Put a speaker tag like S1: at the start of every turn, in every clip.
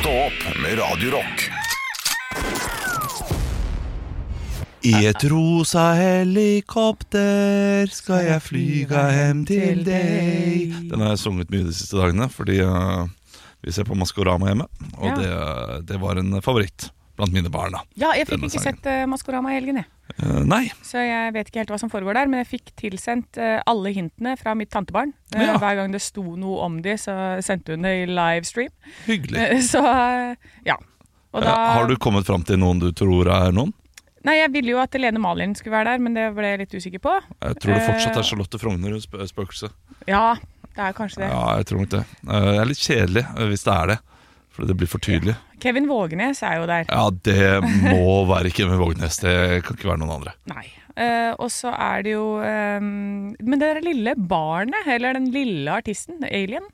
S1: Stå opp med Radio Rock.
S2: I et rosa helikopter skal jeg flyga hjem til deg. Den har jeg sunget mye de siste dagene, fordi eh, vi ser på Maskorama hjemme. Og
S3: Ja.
S2: det, det var en favoritt blant mine barn. da
S3: Ja, jeg fikk
S2: Denne
S3: ikke
S2: sangen.
S3: sett eh, Maskorama i helgen, jeg.
S2: Eh, Nei,
S3: Så jeg vet ikke helt hva som foregår der, men jeg fikk tilsendt eh, alle hintene fra mitt tantebarn. Eh,
S2: Ja.
S3: Hver gang det sto noe om de, så sendte hun det i livestream.
S2: hyggelig.
S3: Eh, Så eh, ja. Og
S2: Eh, Har du kommet fram til noen du tror er noen?
S3: Nei, jeg ville jo at Lene Malin skulle være der, men det ble jeg litt usikker på.
S2: Jeg tror det fortsatt
S3: Eh.
S2: er Charlotte Frogner hun spø- spøkelset.
S3: Ja, det er kanskje det.
S2: Ja, jeg tror nok det. Eh, Det er litt kjedelig eh, hvis det er det. Fordi det blir for tydelig.
S3: Kevin Vågenes er jo der.
S2: Ja, det må være Kevin Vågenes. Det kan ikke være noen andre.
S3: Nei. Eh, og så er det jo eh, Men det der lille barnet, eller den lille artisten, Alien,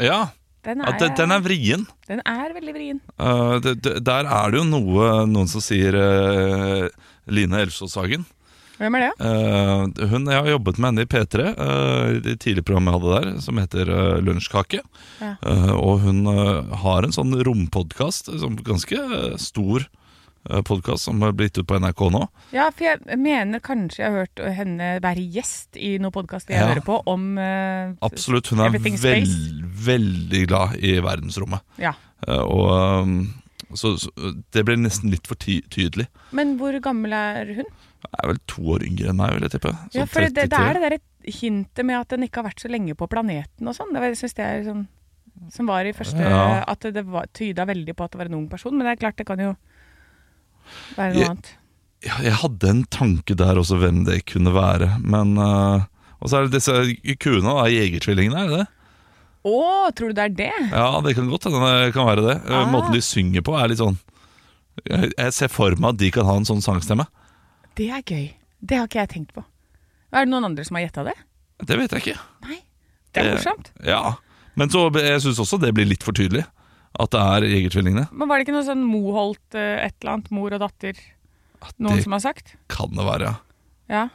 S2: Ja,
S3: den
S2: ja
S3: er,
S2: den, den er vrien.
S3: den er veldig vrien.
S2: Eh, det, det, der er det jo noe, noen som sier eh, Line Elsås-Hagen.
S3: Hvem er det?
S2: Eh, hun jeg har jobbet med henne i P3, eh, i det tidlige programmet jeg hadde der, som heter eh, Lunsjkake.
S3: Ja.
S2: Eh, og hun eh, har en sånn rompodkast, som ganske eh, stor uh, podkast, som har blitt ut på NRK nå.
S3: Ja, for jeg mener kanskje jeg har hørt henne være gjest i noen podkast jeg
S2: Ja.
S3: hører på, om eh,
S2: Absolutt. Hun er
S3: Everything
S2: vel,
S3: Space.
S2: veldig glad i verdensrommet.
S3: Ja.
S2: Eh, og eh, så, så det ble nesten litt for ty tydelig.
S3: Men hvor gammel er hun?
S2: Jeg er vel to år yngre enn meg, vil jeg tippe. Sånn Så
S3: Ja, for det, det
S2: 33.
S3: er det derre hintet med at den ikke har vært så lenge på planeten og sånn. Det var- Jeg synes det er sånn som var i første
S2: Ja.
S3: At det var, tyda veldig på at det var en ung person. Men det er klart, det kan jo være noe
S2: Jeg-
S3: annet.
S2: Ja, jeg hadde en tanke der også hvem det kunne være, men eh, Og så er det disse kuene, da, jegertvillingene, er det det?
S3: Å, tror du det er det?
S2: Ja, det kan godt hende det kan være det. Eh,
S3: Ah.
S2: Måten de synger på er litt sånn jeg, jeg ser for meg at de kan ha en sånn sangstemme.
S3: Det er gøy. Det har ikke jeg tenkt på. Er det noen andre som har gjetta det?
S2: Det vet jeg ikke.
S3: Nei. Det er
S2: Det-
S3: morsomt.
S2: Ja, Men så, jeg syns også det blir litt for tydelig at det er jegertvillingene.
S3: Men var det ikke noe sånn Moholt eh, et eller annet, mor og datter, noen
S2: Det
S3: som har sagt?
S2: kan det være, ja.
S3: Ja.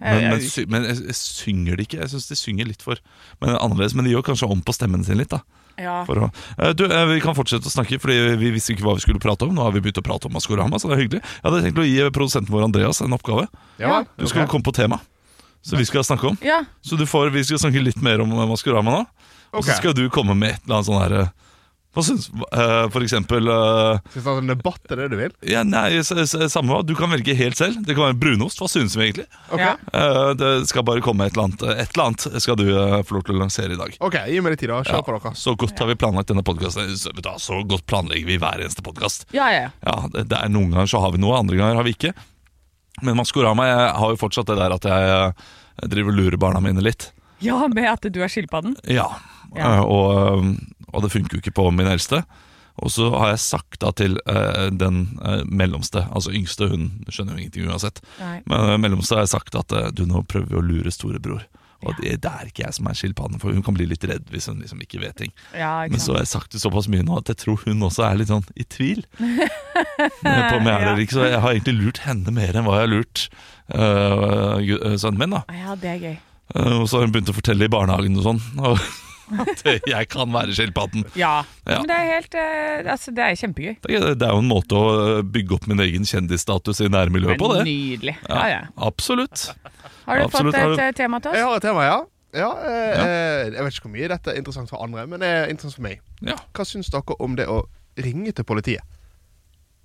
S3: Eh, Jeg-
S2: Men, men,
S3: jeg-
S2: sy, men jeg, jeg synger de ikke? Jeg syns de synger litt for men annerledes. Men de gjør kanskje om på stemmen sin litt, da.
S3: ja.
S2: For å, Eh, du, eh, vi kan fortsette å snakke, Fordi vi visste ikke hva vi skulle prate om. Nå har vi begynt å prate om Maskorama, så det er hyggelig. Jeg hadde tenkt å gi eh, produsenten vår Andreas en oppgave.
S3: Ja.
S2: Du skal komme på tema Så vi skal snakke om.
S3: ja.
S2: Så du får, vi skal snakke litt mer om eh, Maskorama nå. Og
S4: Ok.
S2: så skal du komme med et eller annet sånn her eh, Hva syns eh, For eksempel eh,
S5: Skal vi ta en debatt, er det det du vil?
S2: ja, Nei, s- s- samme hva. Du kan velge helt selv. Det kan være brunost. Hva synes vi egentlig?
S5: Ok,
S3: ja.
S2: Eh, Det skal bare komme et eller annet. Et eller annet skal du eh, få lov til å lansere i dag.
S5: Ok, gi meg litt tid da, kjør
S2: Ja,
S5: på dere
S2: Så godt har vi planlagt denne podkasten. Så, vet du hva, så godt planlegger vi hver eneste podkast.
S3: ja, ja, ja.
S2: Ja, det, det er Noen ganger så har vi noe, andre ganger har vi ikke. Men Maskorama jeg har jo fortsatt det der at jeg eh, driver og lurer barna mine litt.
S3: Ja, med at du er skilpadden?
S2: Ja,
S3: Ja.
S2: eh, Og, eh, og det funker jo ikke på min eldste. Og så har jeg sagt da til eh, den eh, mellomste, altså yngste, hun skjønner jo ingenting uansett.
S3: Nei.
S2: Men eh, mellomste har jeg sagt at eh, du nå prøver vi å lure storebror. Og det, det er ikke jeg som er skilpadden, for hun kan bli litt redd hvis hun liksom ikke vet ting.
S3: Ja, ikke
S2: Men så
S3: sant.
S2: har jeg sagt det såpass mye nå at jeg tror hun også er litt sånn i tvil. Men på om jeg er det eller ikke, Så jeg har egentlig lurt henne mer enn hva jeg har lurt øh, gu- øh, sønnen min. da
S3: Ah, Ja, det er gøy.
S2: Øh, Og så har hun begynt å fortelle i barnehagen og sånn og at jeg kan være skilpadden.
S3: Ja.
S2: Ja.
S3: Men det er helt eh, Altså, det er kjempegøy.
S2: Det er det er jo en måte å øh, bygge opp min egen kjendisstatus i nærmiljøet på, det.
S3: Nydelig. Ja, ja.
S2: Absolutt.
S3: Har du
S2: Absolutt,
S3: fått
S2: har
S3: et
S2: du-
S3: eh, tema til
S5: Jeg
S3: oss?
S5: har et tema, ja. Ja, eh, eh, Jeg vet ikke hvor mye dette er interessant for andre, men det er interessant for meg.
S2: Ja.
S5: Hva syns dere om det å ringe til politiet?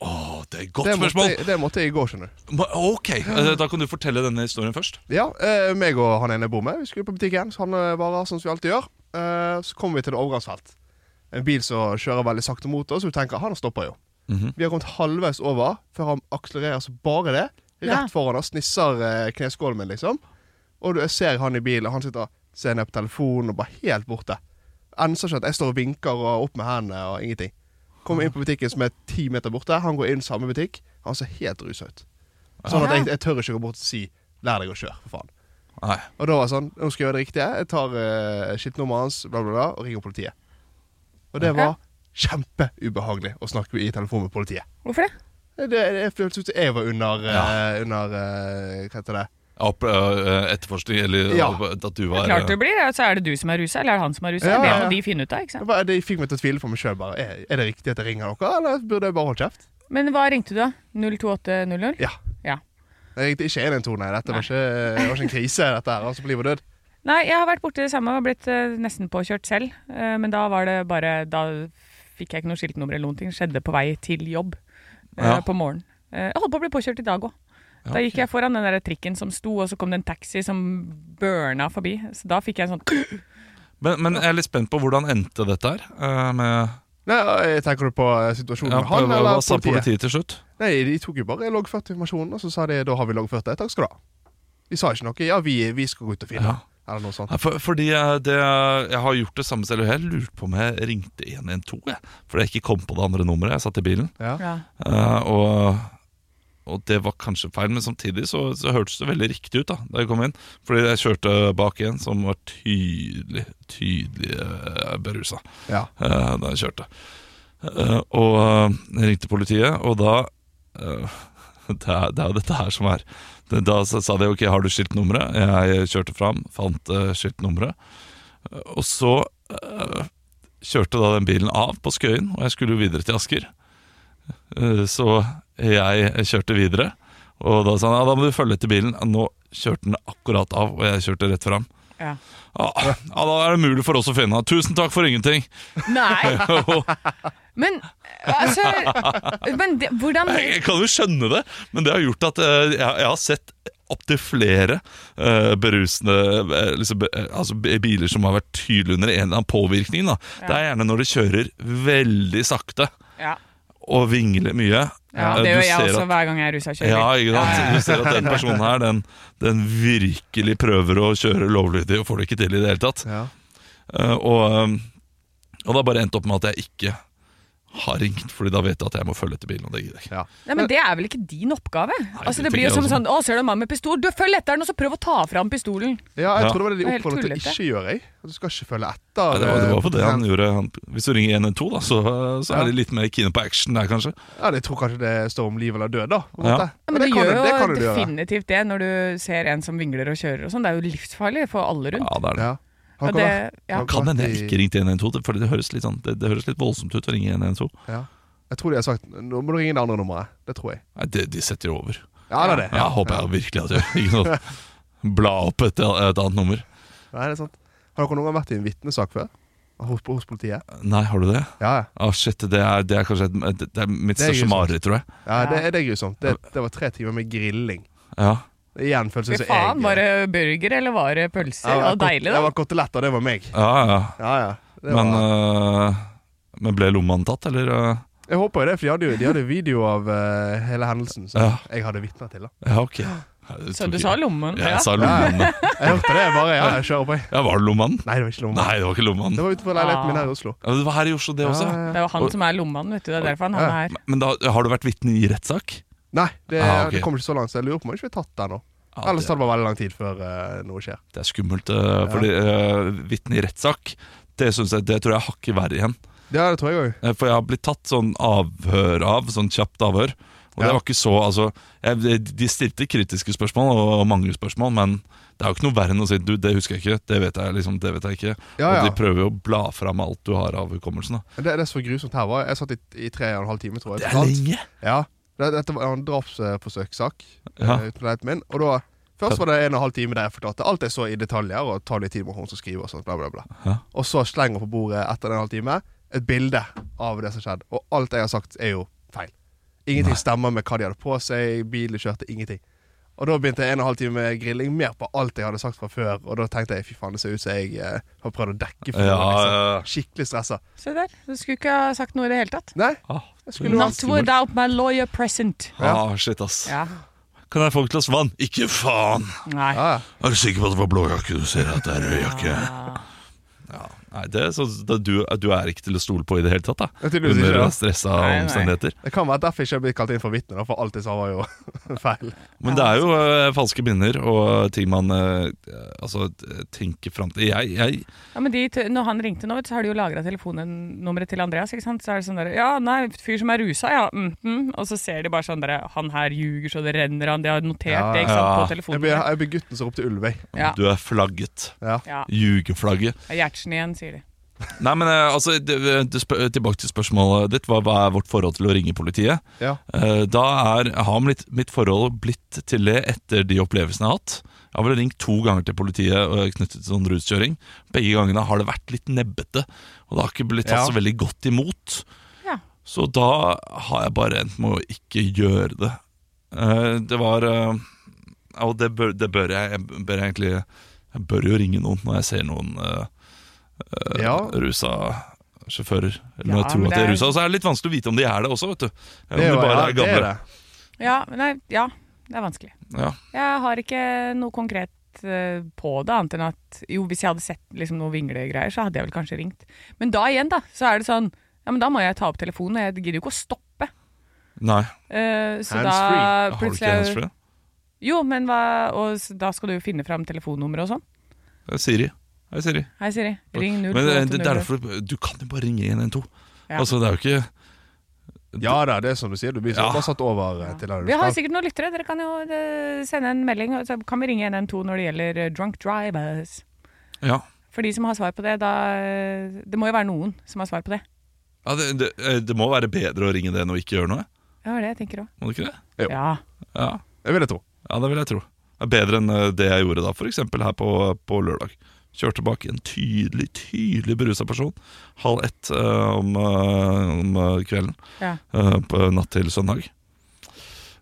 S2: Å, det er et godt
S5: Det måtte,
S2: spørsmål.
S5: jeg- det måtte jeg i går, skjønner du.
S2: Ma- Ok, øh, da kan du fortelle denne historien først.
S5: Ja, eh, meg og han ene jeg bor med, vi skulle på butikken. Så han eh, varer sånn som vi alltid gjør. Eh, så kommer vi til et overgangsfelt. En bil som kjører veldig sakte mot oss, og vi tenker han stopper jo.
S2: Mhm.
S5: Vi har kommet halvveis over før han akselererer så bare det. Rett
S3: Ja.
S5: foran oss, nisser eh, kneskålen min, liksom. Og du, jeg ser han i bilen, og han sitter ser ned på telefonen og bare helt borte. enser ikke at jeg står og vinker og opp med hendene og ingenting. Kommer inn på butikken som er ti meter borte. Han går inn samme butikk. Han ser helt rusa ut. Sånn at jeg, jeg tør ikke gå bort og si 'lær deg å kjøre', for faen.
S2: Nei.
S5: Og da var det sånn Nå skal jeg gjøre det riktige. Jeg tar uh, skiltnummeret hans bla, bla, bla, og ringer politiet. Og det var kjempeubehagelig å snakke i telefon med politiet.
S3: Hvorfor det?
S5: Det, det føltes ut som jeg var under, eh, under eh, Hva heter det?
S2: Opp, øh, etterforskning, eller
S5: Ja.
S2: øh, at du
S3: Det
S2: var
S3: er klart det blir. ja, Så er det du som er rusa, eller er det han som er rusa?
S5: Ja,
S3: Det
S5: ja,
S3: må
S5: ja.
S3: de finne ut av. ikke
S5: Det,
S3: sant?
S5: var, det fikk meg til å tvile på meg sjøl. Er, er det riktig at jeg ringer dere, eller burde jeg bare holdt kjeft?
S3: Men hva ringte du, da? 02800?
S5: Ja.
S3: Ja.
S5: Jeg ringte ikke 112, nei. Dette var ikke, det var ikke en krise, dette her. Altså på liv og død.
S3: Nei, jeg har vært borti det samme og blitt eh, nesten påkjørt selv. Eh, men da var det bare Da fikk jeg ikke noe skiltnummer eller noen ting. Skjedde på vei til jobb eh,
S2: Ja.
S3: på morgenen. Eh, jeg holdt på å bli påkjørt i dag òg. Da gikk jeg foran den der trikken som sto, og så kom det en taxi som burna forbi. Så da fikk jeg en sånn
S2: Men, men jeg er litt spent på hvordan endte dette her. øh, med,
S5: Nei, jeg Tenker du på eh, situasjonen
S2: ja,
S5: med
S2: hva,
S5: han
S2: hva
S5: eller
S2: sa
S5: politiet?
S2: politiet til slutt?
S5: Nei, De tok jo bare loggført informasjonen, og så sa de da har vi loggført det. Takk skal du ha. De sa ikke noe. Ja, vi, vi skal gå ut og finne
S2: Ja.
S5: han, eller noe sånt.
S2: Nei, For, fordi jeg, det, jeg har gjort det samme selv, og jeg lurte på om jeg ringte 112. Jeg, fordi jeg ikke kom på det andre nummeret. Jeg satt i bilen.
S5: Ja.
S3: ja.
S2: Eh, og, og det var kanskje feil, men samtidig så, så hørtes det veldig riktig ut da da jeg kom inn. Fordi jeg kjørte bak en som var tydelig, tydelig uh, berusa
S5: Ja.
S2: eh, da jeg kjørte. Eh, og eh, jeg ringte politiet, og da eh, det, er, det er jo dette her som er Det- Da sa sa de ok, har du skiltnummeret? Jeg kjørte fram, fant eh, skiltnummeret. Eh, og så eh, kjørte da den bilen av på Skøyen, og jeg skulle jo videre til Asker. Eh, så jeg kjørte videre, og da sa han ja, da må du følge etter bilen. Nå kjørte den akkurat av, og jeg kjørte rett fram.
S3: Ja.
S2: Ja, ja, da er det mulig for oss å finne han. Tusen takk for ingenting!
S3: Nei!
S2: Og
S3: Men altså Men det, hvordan
S2: Nei, Jeg kan jo skjønne det, men det har gjort at eh, jeg, jeg har sett opptil flere eh, berusende eh, liksom, be- eh, altså, b- biler som har vært tydelig under en eller annen påvirkning. Da. Det er gjerne når de kjører veldig sakte
S3: Ja,
S2: og vingler mye.
S3: ja
S2: Eh,
S3: det
S2: du
S3: gjør jeg
S2: ser
S3: også
S2: at-
S3: hver gang jeg er rusa og kjører.
S2: Ja, ikke sant?
S3: Ja, ja,
S2: Du ser at den personen her den, den virkelig prøver å kjøre lovlydig og får det ikke til i det hele tatt.
S5: Ja.
S2: Eh, og, eh, og det har bare endt opp med at jeg ikke har ringt, Fordi da vet jeg at jeg må følge etter bilen, og det gidder jeg ikke.
S5: ja.
S3: Nei, men Det er vel ikke din oppgave? altså
S2: det
S3: Det blir jo
S2: tenker
S3: som
S2: jeg
S3: sånn Å, ser du en mann med pistol? Du, følg etter den, og så prøv å ta fram pistolen.
S5: Ja,
S2: Ja.
S5: jeg tror det var det
S3: Det er
S5: de
S3: helt
S5: oppfordret til å
S3: tullete.
S5: ikke gjøre. jeg. At Du skal ikke følge etter.
S2: Ja, det, var, det var for det han
S5: eh,
S2: gjorde. Han, hvis du ringer 112, da, så, så er de litt mer kine på action der, kanskje.
S5: Ja, de tror kanskje det står om liv eller død, da. på en
S2: Ja.
S5: måte.
S3: Ja,
S5: Men
S3: men det,
S5: kan
S3: gjør
S5: du-
S3: jo
S5: det kan du gjøre.
S3: definitivt det når du ser en som vingler og kjører og sånn. Det er jo livsfarlig for alle rundt.
S2: Ja, det er det.
S5: Ja.
S3: Og
S5: Han kan
S3: det,
S5: være-
S3: ja.
S5: han
S2: Kan hende jeg
S5: være-
S2: ikke ringte 112, det- Fordi det høres litt, sånn, det, det høres litt voldsomt ut å ringe 112.
S5: Ja. Jeg tror de har sagt Nå må du ringe det andre nummeret. Det tror jeg.
S2: Nei, det, de setter jo over.
S5: Ja, det er det.
S2: Ja, håper jeg virkelig at de gjør. Ikke noe bla opp et, et annet nummer.
S5: Nei, det er sant. Har dere noen gang vært i en vitnesak før? Hos, hos politiet?
S2: Nei, har du det?
S5: Ja, ja.
S2: Ah, shit, det er, det er kanskje et, det er mitt
S5: Det er
S2: største
S5: grusomt.
S2: mareritt, tror jeg.
S5: ja det, det er grusomt. Det, det var tre timer med grilling.
S2: Ja.
S5: Igjen føles
S3: Fy
S5: det som jeg
S3: faen, var det burger eller var det pølser?
S5: Ja,
S3: det
S5: var
S3: var
S5: kot-
S3: deilig,
S5: Det
S3: da.
S5: var koteletter, det var meg.
S2: Ja, ja.
S5: Ja, ja. Det
S2: Men,
S5: var,
S2: øh, men ble lommene tatt, eller? øh?
S5: jeg håper jo det, for de hadde jo de hadde video av eh, hele hendelsen som
S2: Ja.
S5: jeg hadde vitner til. da
S2: Ja, ok.
S3: Så du sa lommen?
S2: Ja,
S3: Ja.
S2: jeg sa lommene.
S5: Jeg hørte det, jeg bare ja, jeg kjører på. jeg.
S2: Ja, var det lommene?
S5: Nei, det var ikke lomma.
S2: Nei, det var ikke lommene.
S5: Det var utenfor leiligheten min her i Oslo.
S2: Ja, Det var her i Oslo, det også.
S5: Ja, ja, ja.
S3: Det er jo han som er lommaen, vet du. Det er derfor han, han er her.
S2: Men da, har du vært vitne i rettssak?
S5: Nei, det,
S2: Ah, ok.
S5: det kom ikke så langt, så jeg lurer på om jeg ikke blir tatt der nå.
S2: Ja,
S5: Ellers
S2: det,
S5: tar det bare veldig lang tid før eh, noe skjer.
S2: det er skummelt, eh, fordi eh, vitne i rettssak det, synes jeg, det tror jeg hakker verre igjen.
S5: Ja, det tror jeg òg.
S2: Eh, For jeg har blitt tatt sånn avhør av, sånn kjapt avhør. Og det
S5: Ja.
S2: var ikke så altså, jeg, de- De stilte kritiske spørsmål og mange spørsmål, men det er jo ikke noe verre enn å si du, 'det husker jeg ikke', 'det vet jeg', liksom, 'det vet jeg ikke'.
S5: Ja, ja.
S2: Og de prøver jo å bla fram alt du har av hukommelsen. Da.
S5: Men Det, det som var grusomt her, var Jeg satt i, i tre og en halv time, tror jeg.
S2: Det er
S5: totalt.
S2: lenge!
S5: Ja, det, Dette var en drapsforsøkssak
S2: Ja.
S5: eh, utenfor leiligheten min. Og da, Først var det en og en halv time der jeg forklarte alt jeg så i detaljer, og tar litt tid med hun som skriver, og sånt, bla, bla, bla.
S2: Ja.
S5: Og så slenger hun på bordet etter en halv time et bilde av det som skjedde. Og alt jeg har sagt, er jo feil. Ingenting stemmer med hva de hadde på seg, bilen de kjørte, ingenting. Og da begynte en og en halv time med grilling mer på alt jeg hadde sagt fra før. Og da tenkte jeg fy faen, det ser ut som jeg eh, har prøvd å dekke for
S2: Ja,
S5: noe. Liksom.
S2: ja, ja.
S5: Skikkelig stressa.
S3: Se der. Du skulle ikke ha sagt noe i det hele tatt.
S5: Nei,
S2: Ah,
S5: jeg skulle
S3: Not without my lawyer present.
S2: ah, shit, ass.
S3: Ja.
S2: Kan jeg få et glass vann? Ikke faen!
S3: Nei.
S5: ja, ja.
S2: Er du sikker på at det var blå jakke? Du ser at det er rød jakke. Nei, det, er sånn- da, du, du er ikke til å stole på i det hele tatt, da.
S5: Ja, tydeligvis ikke,
S2: Under
S5: da.
S2: stressa
S3: Nei, nei.
S2: omstendigheter.
S5: Det kan være derfor jeg ikke har blitt kalt inn for vitne, da, for alt jeg sa var jo feil.
S2: Men det er jo eh, falske minner og ting man eh, altså, t- tenker fram til. Jeg, jeg
S3: Ja, men de, t- når han ringte nå, vet du, så har de jo lagra telefonnummeret til Andreas. ikke sant? Så er det sånn der, Ja, nei, fyr som er rusa, ja. Mm, mm. Og så ser de bare sånn der, Han her ljuger så det renner av han. De har notert
S5: Ja,
S3: det ikke
S2: ja.
S3: sant, på
S5: Jeg blir,
S3: telefonen.
S5: jeg blir gutten som ropte ulv, jeg.
S3: Ja.
S2: Du er flagget.
S5: Ja.
S3: Ja.
S2: Ljugeflagget.
S3: Gjertsen igjen, sier de.
S2: Nei, men eh, altså, det, det, spør- tilbake til spørsmålet ditt. Hva, hva er vårt forhold til å ringe politiet?
S5: Ja.
S2: Eh, Da er, har mitt, mitt forhold blitt til det etter de opplevelsene jeg har hatt. Jeg har vel ringt to ganger til politiet eh, knyttet til sånn ruskjøring. Begge gangene har det vært litt nebbete, og det har ikke blitt tatt
S5: Ja.
S2: så veldig godt imot.
S3: Ja.
S2: Så da har jeg bare endt med å ikke gjøre det. Eh, Det var eh, Og det bør, det bør jeg, jeg bør egentlig Jeg bør jo ringe noen når jeg ser noen eh, eh,
S5: Ja.
S2: rusa sjåfører. Eller
S3: Ja,
S2: når jeg tror
S3: men
S2: at de
S3: det
S2: er
S3: er-
S2: rusa. Og så er det litt vanskelig å vite om de er det også, vet du. Om
S5: Det er
S2: de
S5: jo-
S2: bare
S5: ja,
S2: er
S5: det er
S2: gamle.
S5: det.
S3: Ja, men det er, ja, det er vanskelig.
S2: Ja.
S3: Jeg har ikke noe konkret eh, på det, annet enn at jo, hvis jeg hadde sett liksom, noe vinglegreier, så hadde jeg vel kanskje ringt. Men da igjen, da, så er det sånn Ja, men da må jeg ta opp telefonen, og jeg gidder jo ikke å stoppe.
S2: Nei.
S3: Eh, så da
S5: Hands-free.
S2: Har du ikke
S3: plutselig
S2: handsfree?
S3: Jo, men hva Og s- da skal du jo finne fram telefonnummeret og sånn.
S2: Det er Siri. Hei, Siri.
S3: Hei, Siri. Ring 0
S2: Men eh, det, det er derfor Du kan jo bare ringe 112.
S3: Ja.
S2: Altså, det er jo ikke
S5: Ja da, det er som du sier. Du blir
S2: Ja.
S5: bare satt over eh, til der du
S3: Vi har
S5: skal.
S3: sikkert noen lyttere. Dere kan jo eh, sende en melding. og Så kan vi ringe 112 når det gjelder eh, drunk drivers.
S2: Ja.
S3: For de som har svar på det, da eh, Det må jo være noen som har svar på det.
S2: ja det, det, eh, det må være bedre å ringe det enn å ikke gjøre noe.
S3: Ja, det er det jeg tenker òg.
S2: Må det ikke det?
S5: Jo.
S3: Ja.
S2: Ja.
S5: Jeg vil det tro.
S2: ja, det vil jeg tro. Det er bedre enn eh, det jeg gjorde da, f.eks. her på, på lørdag. Kjørte bak en tydelig tydelig berusa person halv ett eh, om, eh, om eh, kvelden.
S3: ja.
S2: eh, på natt til søndag.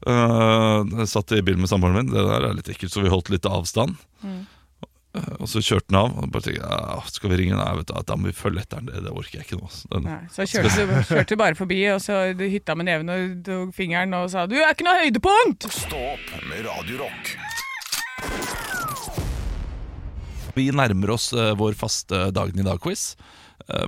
S2: Eh, jeg satt i bilen med samboeren min, det der er litt ekkelt, så vi holdt litt avstand. Eh, og så kjørte den av. Og bare tenkte, jeg, ja, skal vi ringe? Nei, vet du, da må vi følge etter den, det, det orker jeg ikke nå. Så Den,
S3: Nei. Så kjørte du, kjørte du bare forbi, og så du hytta med neven og tok fingeren og sa 'du er ikke noe høydepunkt'!
S1: Stå opp med Radio Rock.
S2: vi nærmer oss eh, vår faste Dagen i dag-quiz. Eh,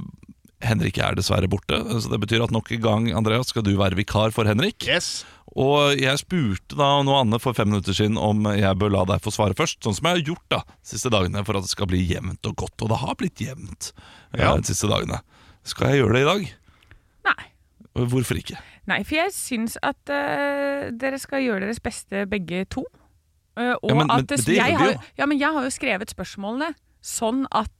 S2: Henrik er dessverre borte, så det betyr at nok en gang Andreas, skal du være vikar for Henrik.
S5: Yes.
S2: Og jeg spurte da nå Anne for fem minutter siden om jeg bør la deg få svare først. Sånn som jeg har gjort da, siste dagene for at det skal bli jevnt og godt. Og det har blitt jevnt
S5: Ja.
S2: eh, de siste dagene. Skal jeg gjøre det i dag?
S3: Nei.
S2: Og Hvorfor ikke?
S3: Nei, for jeg syns at eh, dere skal gjøre deres beste begge to. Eh, og
S2: Ja, men- men-
S3: at
S2: men det gjør vi
S3: jeg har,
S2: jo.
S3: ja, men jeg har jo skrevet spørsmålene sånn at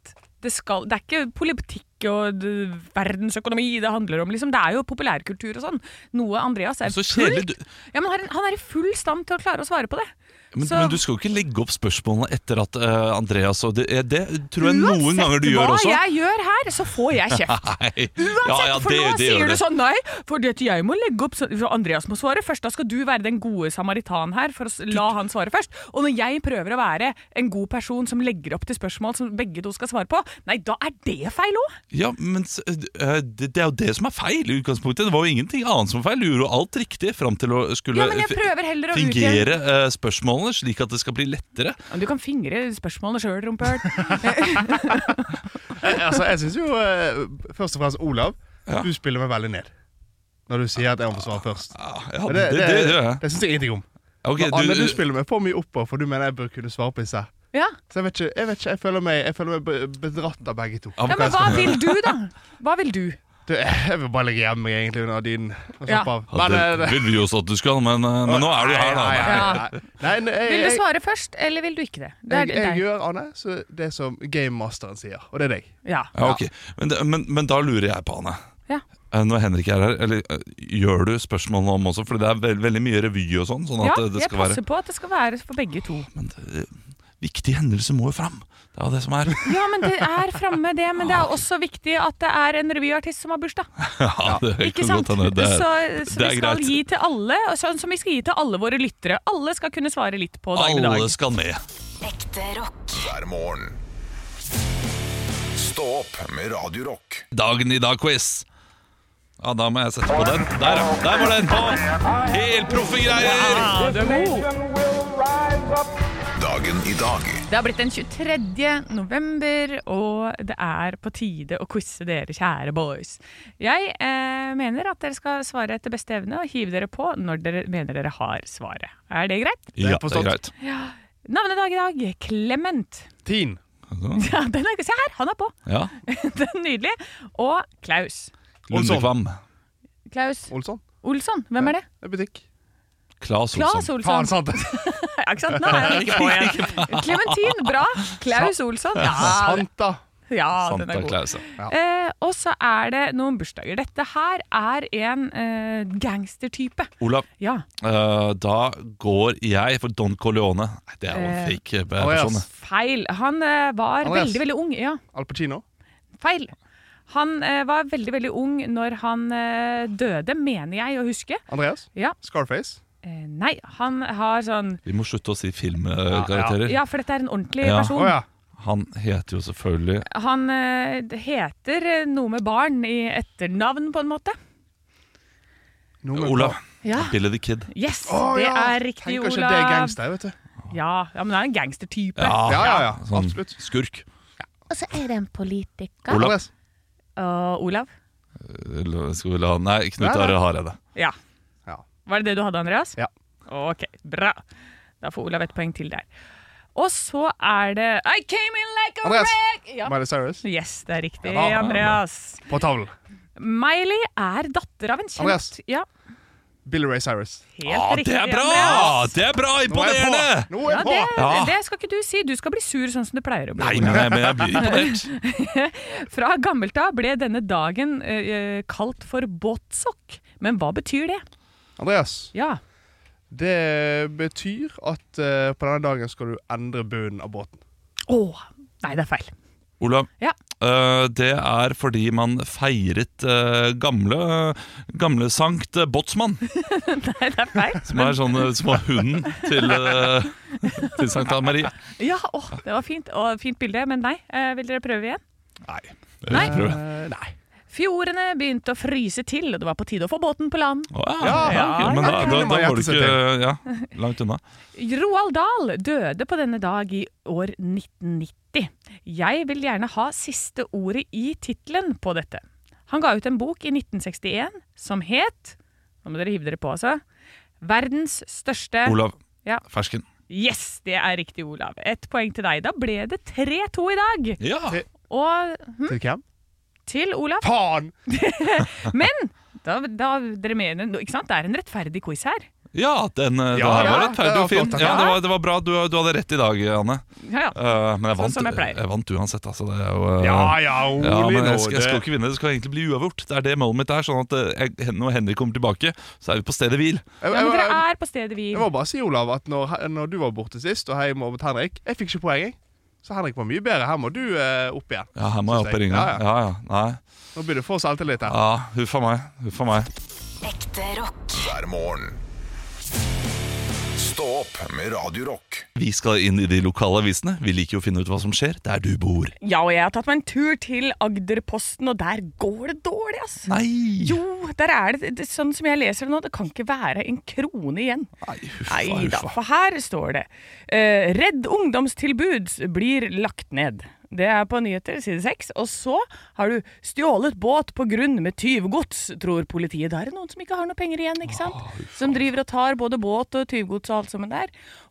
S3: det skal Det er ikke politikk og d- verdensøkonomi det handler om, liksom. Det er jo populærkultur og sånn. Noe Andreas er
S2: Så kjedelig.
S3: fullt
S2: Du,
S3: ja, men han er- Han er i full stand til å klare å svare på det.
S2: men,
S3: Så-
S2: men du skal jo ikke legge opp spørsmålene etter at eh, Andreas og det, eh, det tror jeg noen ganger du gjør også.
S3: Uansett hva jeg gjør her, så får jeg kjeft.
S2: Nei.
S3: Uansett,
S2: Ja, ja,
S3: for nå
S2: det- det gjør
S3: sier du
S2: det.
S3: sånn nei, for det at jeg må legge opp så- for Andreas må svare først. Da skal du være den gode samaritan her for å s- la han svare først. Og når jeg prøver å være en god person som legger opp til spørsmål som begge to skal svare på, nei, da er det feil òg.
S2: Ja, men s- eh, det, det er jo det som er feil i utgangspunktet. Det var jo ingenting annet som var feil. Du gjorde jo alt riktig fram til å skulle
S3: Ja, men jeg prøver heller å utgjøre
S2: fingere eh, spørsmålene slik at det skal bli lettere.
S3: Du kan fingre spørsmålene sjøl, rumpehøl.
S5: Eh, Altså, jeg syns jo eh, først og fremst Olav,
S2: Ja.
S5: du spiller meg veldig ned. Når du sier at jeg må svare først.
S2: Ah, Ja,
S5: Men
S2: det, det, det, gjør jeg.
S5: det syns jeg ingenting om.
S2: Ok,
S5: Men Anne,
S2: du,
S5: du spiller meg for mye oppover, for du mener jeg bør kunne svare på disse.
S3: Ja.
S5: Så jeg vet ikke, jeg, vet ikke, jeg føler meg, jeg føler meg be- bedratt av begge to.
S2: Ja,
S3: ja, men hva vil du, da? Hva vil du?
S5: Du, jeg vil bare ligge hjemme egentlig under dynen og
S3: Ja.
S5: slappe av.
S2: ja,
S5: Men, eh,
S2: det vil vi jo også at du skal, men, eh, men nå er du her, da.
S5: Nei,
S2: Anne.
S5: nei, nei. nei, nei jeg,
S3: Vil du
S5: jeg,
S3: svare først, eller vil du ikke det? Det er
S5: jeg, jeg
S3: deg.
S5: gjør, Anne, så det som gamemasteren sier, og det er deg.
S3: Ja.
S2: Ja, ok. men, det- men, men da lurer jeg på, Anne.
S3: Ja.
S2: Eh, Når Henrik er her, eller eh, gjør du spørsmålene om også? For det er vel- veldig mye revy og sånn. sånn
S3: Ja,
S2: at det- det
S3: jeg
S2: skal være
S3: passer på at det skal være for begge to.
S2: Men eh, viktige hendelser må jo fram. Det er jo det som er
S3: Ja, men det er framme, det. Men det er også viktig at det er en revyartist som har bursdag.
S2: Ja, det
S3: Ikke
S2: kan
S3: sant?
S2: godt hende. Det er-
S3: så
S2: det
S3: så
S2: er
S3: vi skal
S2: greit.
S3: gi til alle, og sånn som vi skal gi til alle våre lyttere. Alle skal kunne svare litt på dag i dag.
S2: Alle skal med.
S6: Ekte rock.
S1: Hver morgen. Stå opp med Radio Rock.
S2: Dagen i dag-quiz. Ja, da må jeg sette på den. Der, ja. Der var den! Helproffe greier!
S3: Ja, du er god.
S7: Nation will rise up
S1: Dagen i dag
S3: Det har blitt den 23. november, og det er på tide å quize dere, kjære boys. Jeg eh, mener at dere skal svare etter beste evne og hive dere på når dere mener dere har svaret. Er det greit?
S2: Ja, det
S5: forstått.
S2: er greit.
S3: Navnedag i dag Clement.
S5: Teen.
S3: Ja, den er, se her, han er på!
S2: Altså, Ja.
S3: Den er nydelig. Og Klaus. sånn.
S2: Lundekvam.
S3: Klaus
S5: Olsson.
S3: Olsson, hvem er det?
S5: Det er butikk.
S2: Claes
S3: Klaus
S2: Olsson.
S5: Faen,
S3: Olsson.
S5: sant det!
S3: Ja, ikke sant? Nå er han ikke på igjen. Clementin, bra. Klaus Olsson. Ja,
S5: Sant, da!
S3: ja den
S2: Santa
S3: er god.
S2: Claus. ja.
S3: Eh, og så er det noen bursdager. Dette her er en eh, gangstertype.
S2: Olav,
S3: Ja.
S2: eh, da går jeg for Don Corleone. Nei, det er jo en
S3: Eh,
S2: fake eh,
S5: Andreas.
S2: person. det.
S3: Feil. Han eh, var
S5: Andreas.
S3: veldig, veldig ung. Ja,
S5: Al Pacino.
S3: feil. Han eh, var veldig, veldig ung når han eh, døde, mener jeg å huske.
S5: Andreas.
S3: Ja.
S5: Scarface.
S3: Eh, nei, han har sånn
S2: Vi må slutte å si filmkarakterer.
S3: Ja, for dette er en ordentlig
S2: Ja.
S5: Å
S3: person.
S5: ja.
S2: Han heter jo selvfølgelig
S3: Han eh, heter eh, noe med barn i etternavn, på en måte.
S5: Noe med-
S2: Olav.
S3: Ja.
S2: Billy the Kid.
S3: Yes,
S5: Å,
S3: det
S5: ja.
S3: er riktig,
S5: Tenker ikke
S3: Ola.
S5: det er gangster, vet du.
S3: Ja, ja, men han er en gangstertype.
S5: Ja, ja, ja.
S2: Sånn
S5: Absolutt.
S2: skurk.
S3: Og så er det en politiker.
S2: Olav.
S5: Andreas.
S3: Og Olav?
S2: Eller Skal vi la Nei, Knut
S5: Nei, nei.
S2: Are Hareide.
S3: Ja.
S5: Ja.
S3: Var det det du hadde, Andreas?
S5: Ja.
S3: Ok, bra. Da får Olav et poeng til der. Og så er det I came in like a
S5: Andreas.
S3: wreck! Ja.
S5: Miley Cyrus.
S3: Yes, det er riktig,
S2: Ja, da.
S3: Andreas.
S5: På tavlen.
S3: Miley er datter av en kjent
S5: Andreas.
S3: Ja,
S5: Billy Ray Cyrus.
S3: helt
S2: Ah,
S3: riktig,
S2: det er bra!
S3: Andreas.
S2: Det er bra!
S5: Nå er jeg på!
S2: Imponerende!
S5: Nå er
S3: Ja,
S5: jeg
S3: det,
S5: på!
S2: Ja.
S3: det skal ikke du si. Du skal bli sur sånn som du pleier å bli.
S2: Nei, men jeg, men jeg blir imponert.
S3: Fra gammelt av ble denne dagen eh, kalt for båtsokk. Men hva betyr det?
S5: Andreas.
S3: Ja,
S5: Det betyr at eh, på denne dagen skal du endre bunnen av båten.
S3: Åh, nei, det er feil.
S2: Olav,
S3: Ja.
S2: eh, det er fordi man feiret eh, gamle, gamle Sankt eh, Båtsmann,
S3: Nei, det er feil.
S2: som er sånn eh, små hunden til, eh, til Sankt Anne Marie.
S3: Ja, åh, det var fint. Åh, fint bilde, men nei. Eh, vil dere prøve igjen?
S2: Nei.
S3: Nei.
S2: Jeg prøver.
S3: Eh,
S5: nei.
S3: Fjordene begynte å fryse til, og det var på tide å få båten på land.
S2: Å, ja,
S5: Ja,
S2: ja,
S3: ja,
S2: men da,
S5: ja.
S2: da,
S5: Det må
S2: da
S5: jeg
S2: var du
S5: gjette
S2: ikke ja, langt unna.
S3: Roald Dahl døde på denne dag i år 1990. Jeg vil gjerne ha siste ordet i tittelen på dette. Han ga ut en bok i 1961 som het Nå må dere hive dere på, altså. Verdens største
S2: Olav,
S3: Ja.
S2: fersken.
S3: Yes, det er riktig, Olav. Ett poeng til deg. Da ble det 3-2 i dag.
S2: Ja,
S3: Og hm,
S5: Til hvem?
S3: til Olav.
S5: Faen!
S3: Men da, da, dere mener, ikke sant? det er en rettferdig quiz her.
S2: ja den, eh, det
S5: Ja,
S2: her var
S5: ja,
S2: rettferdig og
S5: det var
S2: fin.
S5: flott,
S2: Ja,
S5: ja.
S2: det var, det var bra. Du, du hadde rett i dag, Anne.
S3: Ja, ja.
S2: Eh, men jeg vant,
S3: Sånn som jeg pleier.
S2: vant uansett, altså. Det er jo eh,
S5: Ja ja, rolig
S2: Ja, men
S5: nå.
S2: jeg skal, jeg skal
S5: det-
S2: ikke vinne, det skal egentlig bli uavgjort. Det er det målet mitt er. sånn at eh, jeg, Når Henrik kommer tilbake, så er vi på stedet hvil.
S5: Jeg-
S3: Ja, men
S5: jeg-
S3: dere
S5: jeg-
S3: er på stedet vi
S5: Jeg må bare si, Olav, at når, når du var borte sist, og hei mot Henrik Jeg fikk ikke poeng, jeg. Så Henrik var mye bedre. Her må du eh, opp igjen.
S2: Ja, her må jeg
S5: synes
S2: opp i ringa.
S5: Ja, ja.
S2: Ja, ja. Nei.
S5: Nå blir du få selvtillit her.
S2: Ja, huff a meg. Huff a meg.
S6: Ekte rock.
S1: hver morgen. Stå opp med Radio Rock.
S2: Vi skal inn i de lokale avisene. Vi liker jo å finne ut hva som skjer der du bor.
S3: Ja, og jeg har tatt meg en tur til Agderposten, og der går det dårlig, ass.
S2: Nei!
S3: Jo, der er det, det sånn som jeg leser det nå, det kan ikke være en krone igjen.
S2: Nei, huffa,
S3: Nei da,
S2: huffa.
S3: for her står det eh, Redd ungdomstilbud blir lagt ned. Det er på nyheter, side seks. Og så har du stjålet båt på grunn med tyvgods, tror politiet. Da er det noen som ikke har noe penger igjen, ikke sant? som driver og tar både båt og tyvgods og alt sammen der.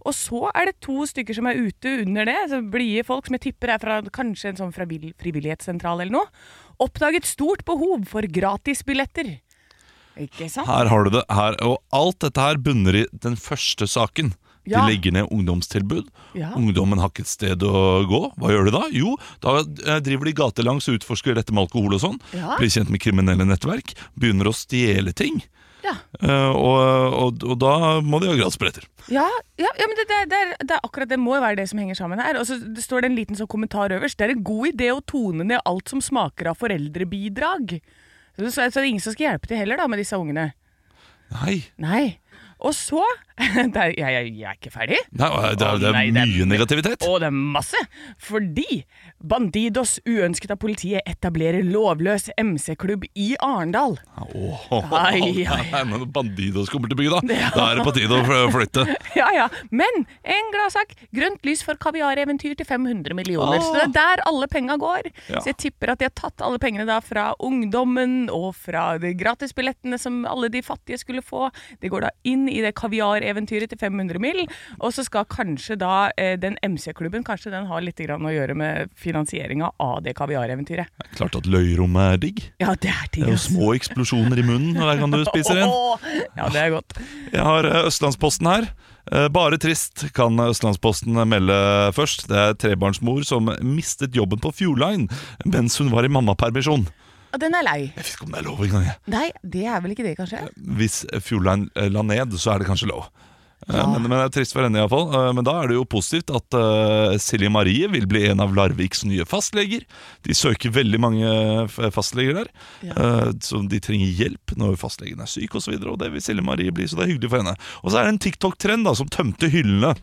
S3: Og så er det to stykker som er ute under det, så blide folk som jeg tipper er fra kanskje en sånn fra vil- frivillighetssentral eller noe. Oppdaget stort behov for gratisbilletter. Ikke sant?
S2: Her har du det. Her. Og alt dette her bunner i den første saken.
S3: Ja.
S2: De legger ned ungdomstilbud.
S3: Ja.
S2: Ungdommen har ikke et sted å gå. Hva gjør de da? Jo, da eh, driver de gatelangs og utforsker dette med alkohol og sånn.
S3: Ja.
S2: Blir kjent med kriminelle nettverk. Begynner å stjele ting.
S3: Ja.
S2: Eh, og, og, og da må de ha gradsbilletter.
S3: Ja, ja, ja men det, det, det, er, det er akkurat det må jo være det som henger sammen her. Og så det står det en liten sånn kommentar øverst. Det er en god idé å tone ned alt som smaker av foreldrebidrag. Så, så, så det er ingen som skal hjelpe til heller da med disse ungene.
S2: Nei.
S3: Nei. Og så Det er, jeg, jeg, jeg er ikke ferdig.
S2: Nei, det er, det
S3: Å,
S2: er
S3: nei, det er-
S2: mye negativitet.
S3: Og det er masse! Fordi Bandidos, uønsket av politiet, etablerer lovløs MC-klubb i Arendal.
S2: Åh,
S3: Ai, ai,
S2: Nei, men Bandidos kommer til bygda. Da er det på tide å fl- flytte.
S3: Ja, ja. Men en gladsak! Grønt lys for kaviareventyr til 500 millioner. Så det er der alle penga går.
S2: Ja.
S3: Så jeg tipper at de har tatt alle pengene da fra ungdommen og fra de gratisbillettene som alle de fattige skulle få. Det går da inn i det kaviareventyret til 500 mill. Og så skal kanskje da eh, den MC-klubben kanskje den har litt grann å gjøre med finansieringa av det kaviareventyret.
S2: Det er Klart at løyrommet er digg.
S3: Ja, det er ting,
S2: Det er jo
S3: ass.
S2: små eksplosjoner i munnen hver gang du spiser en.
S3: Åh, Ja, det er godt.
S2: Jeg har eh, Østlandsposten her. Eh, Bare trist kan Østlandsposten melde først. Det er trebarnsmor som mistet jobben på Fjordline mens hun var i mammapermisjon.
S3: Og den er lei.
S2: Jeg vet ikke om det er lov engang. jeg.
S3: Nei, det er vel ikke det, kanskje?
S2: Hvis Fjordline eh, la ned, så er det kanskje lov. Eh, Men, men det er trist for henne iallfall. Eh, Men da er det jo positivt at eh, Silje Marie vil bli en av Larviks nye fastleger. De søker veldig mange f- fastleger der, eh, så de trenger hjelp når fastlegen er syk osv. Og, så videre, og det vil Silje Marie bli, så det er hyggelig for henne. Og så er det en TikTok-trend da som tømte hyllene.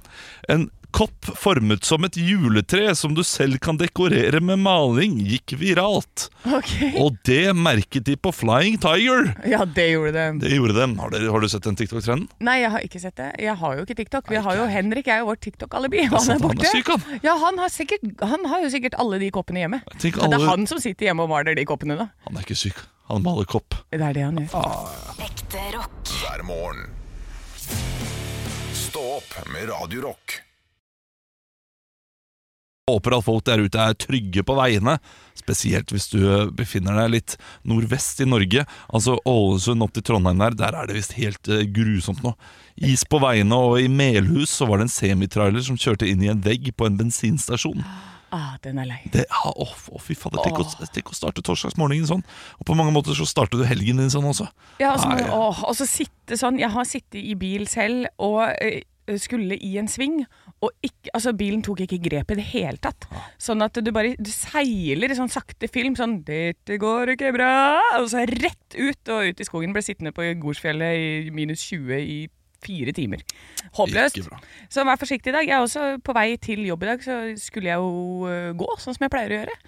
S2: En kopp formet som et juletre som du selv kan dekorere med maling, gikk viralt.
S3: Ok.
S2: Og det merket de på Flying Tiger.
S3: Ja, det gjorde det.
S2: Det gjorde de. Har, dere, har du sett den TikTok-trenden?
S3: Nei, jeg har ikke sett det. Jeg har jo ikke TikTok. Vi har jo Henrik er jo vårt TikTok-alibi. Han
S2: sant,
S3: er
S2: han er
S3: borte.
S2: syk, han.
S3: Ja, han har, sikkert, han har jo sikkert alle de koppene hjemme.
S2: Tenk
S3: Så det
S2: alle-
S3: er han som sitter hjemme og maler de koppene, da.
S2: Han er ikke syk. Han maler kopp.
S3: Det er det han gjør.
S6: Ekte rock.
S1: hver morgen. Stå opp med Radio Rock.
S2: Håper at folk der ute er trygge på veiene, spesielt hvis du eh, befinner deg litt nordvest i Norge. Altså Ålesund opp til Trondheim der, der er det visst helt eh, grusomt nå. Is på veiene, og i Melhus så var det en semitrailer som kjørte inn i en vegg på en bensinstasjon.
S3: Ah, den er lei.
S2: Det, ah, å, f- å, fy fader, tenk, å- tenk å starte torsdagsmorgenen sånn. Og på mange måter så starter du helgen din sånn også.
S3: Ja, og så må-
S2: Nei.
S3: åh, og så sitte sånn Jeg har sittet i bil selv og eh, skulle i en sving, og ikke, altså bilen tok ikke grep i det hele tatt. Sånn at du bare du seiler i sånn sakte film sånn 'Dette går ikke bra', og så rett ut og ut i skogen. Ble sittende på Gorsfjellet i minus 20 i fire timer. Håpløst.
S2: Ikke bra.
S3: Så vær forsiktig i dag. Jeg er også på vei til jobb i dag, så skulle jeg jo eh, gå, sånn som jeg pleier å gjøre.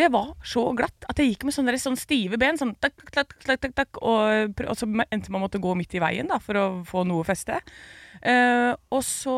S3: Det var så glatt at jeg gikk med sånne, sånne stive ben, sånn takk, takk, takk, takk, takk, og, pr- og så endte man måtte gå midt i veien da, for å få noe feste. Eh, og så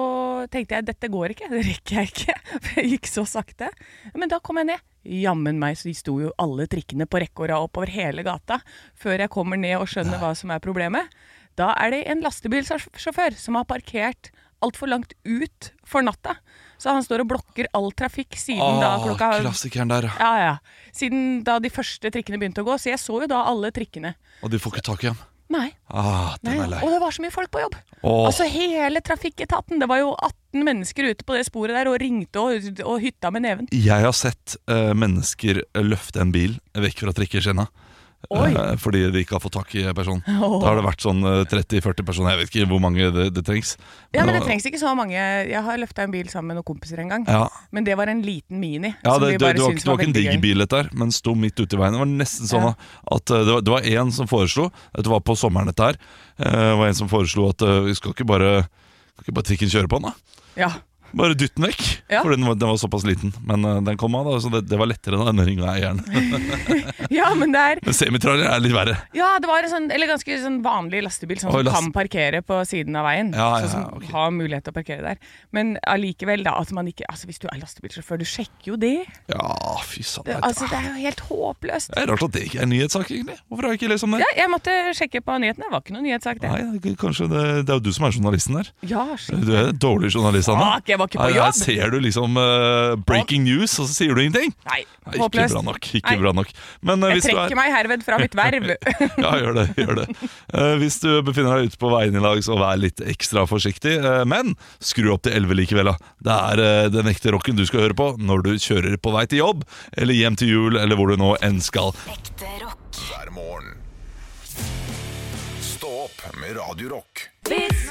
S3: tenkte jeg, dette går ikke, det rekker jeg ikke, for jeg gikk så sakte. Men da kom jeg ned. Jammen meg, så de sto jo alle trikkene på rekke og rad oppover hele gata, før jeg kommer ned og skjønner hva som er problemet. Da er det en lastebilsjåfør som har parkert altfor langt ut for natta. Så han står og blokker all trafikk siden da
S2: Åh,
S3: klokka
S2: Klassikeren der, ja.
S3: ja, ja. Siden da de første trikkene begynte å gå. Så jeg så jo da alle trikkene.
S2: Og de får ikke tak i ham.
S3: Nei.
S2: Ah,
S3: nei.
S2: den er lei.
S3: Og det var så mye folk på jobb.
S2: Åh.
S3: Altså hele trafikketaten. Det var jo 18 mennesker ute på det sporet der og ringte og, og hytta med neven.
S2: Jeg har sett eh, mennesker løfte en bil vekk fra trikkeskinna.
S3: Oi.
S2: eh, fordi de ikke har fått tak i personen. Da har det vært sånn eh, 30-40 personer. Jeg vet ikke hvor mange det, det trengs.
S3: Ja, men det trengs ikke så mange. Jeg har løfta en bil sammen med noen kompiser en gang.
S2: Ja,
S3: Men det var en liten mini.
S2: ja
S3: som
S2: det, det,
S3: vi bare
S2: det, var,
S3: syntes
S2: ikke- det var ikke en
S3: veldig
S2: diger
S3: gøy.
S2: bil, dette her, men sto midt ute i veien. Det var nesten sånn
S3: Ja.
S2: at eh, det var- det var én som foreslo Dette var på sommeren, dette her. Eh, det var en som foreslo at eh, vi skal ikke bare skal ikke bare trikken kjøre på den, da?
S3: Ja.
S2: Bare dytt den vekk!
S3: Ja.
S2: For den var, den var såpass liten. Men eh, den kom av, da, så det, det var lettere da enn den ringa eieren.
S3: ja, men det er
S2: Men semitrailer er litt verre.
S3: Ja, det var en sånn, eller ganske sånn vanlig lastebil, sånn
S2: Oi,
S3: som
S2: last-
S3: kan parkere på siden av veien.
S2: Ja, ja,
S3: sånn som
S2: ja, ok.
S3: har mulighet til å parkere der. Men allikevel, da, at man ikke Altså, hvis du er lastebilsjåfør, du sjekker jo det.
S2: Ja, fy satan.
S3: det altså, det er jo helt håpløst.
S2: Det er rart at det ikke er en nyhetssak, egentlig. Hvorfor har jeg ikke lest om det?
S3: Ja, jeg måtte sjekke på nyhetene. Det var ikke noen nyhetssak, det.
S2: Nei, det er kanskje det, det er jo du som er journalisten her.
S3: Ja, shit.
S2: Du er en dårlig journalist, Anna.
S3: Fuck, jeg var ikke på
S2: Her-
S3: jobb.
S2: Her ser du liksom eh, breaking news, og så sier du ingenting.
S3: Nei,
S2: Nei, ikke
S3: håpløst.
S2: bra nok. Ikke
S3: Nei.
S2: bra nok. Men, eh,
S3: Jeg
S2: hvis du er,
S3: trekker meg herved fra mitt verv.
S2: ja, gjør det. gjør det Eh, Hvis du befinner deg ute på veien i dag, så vær litt ekstra forsiktig. eh, men skru opp til 11 likevel. da Det er eh, den ekte rocken du skal høre på når du kjører på vei til jobb, eller hjem til jul, eller hvor du nå enn skal.
S6: Ekte rock.
S1: hver morgen. Stå opp med Radio Rock.
S3: Vits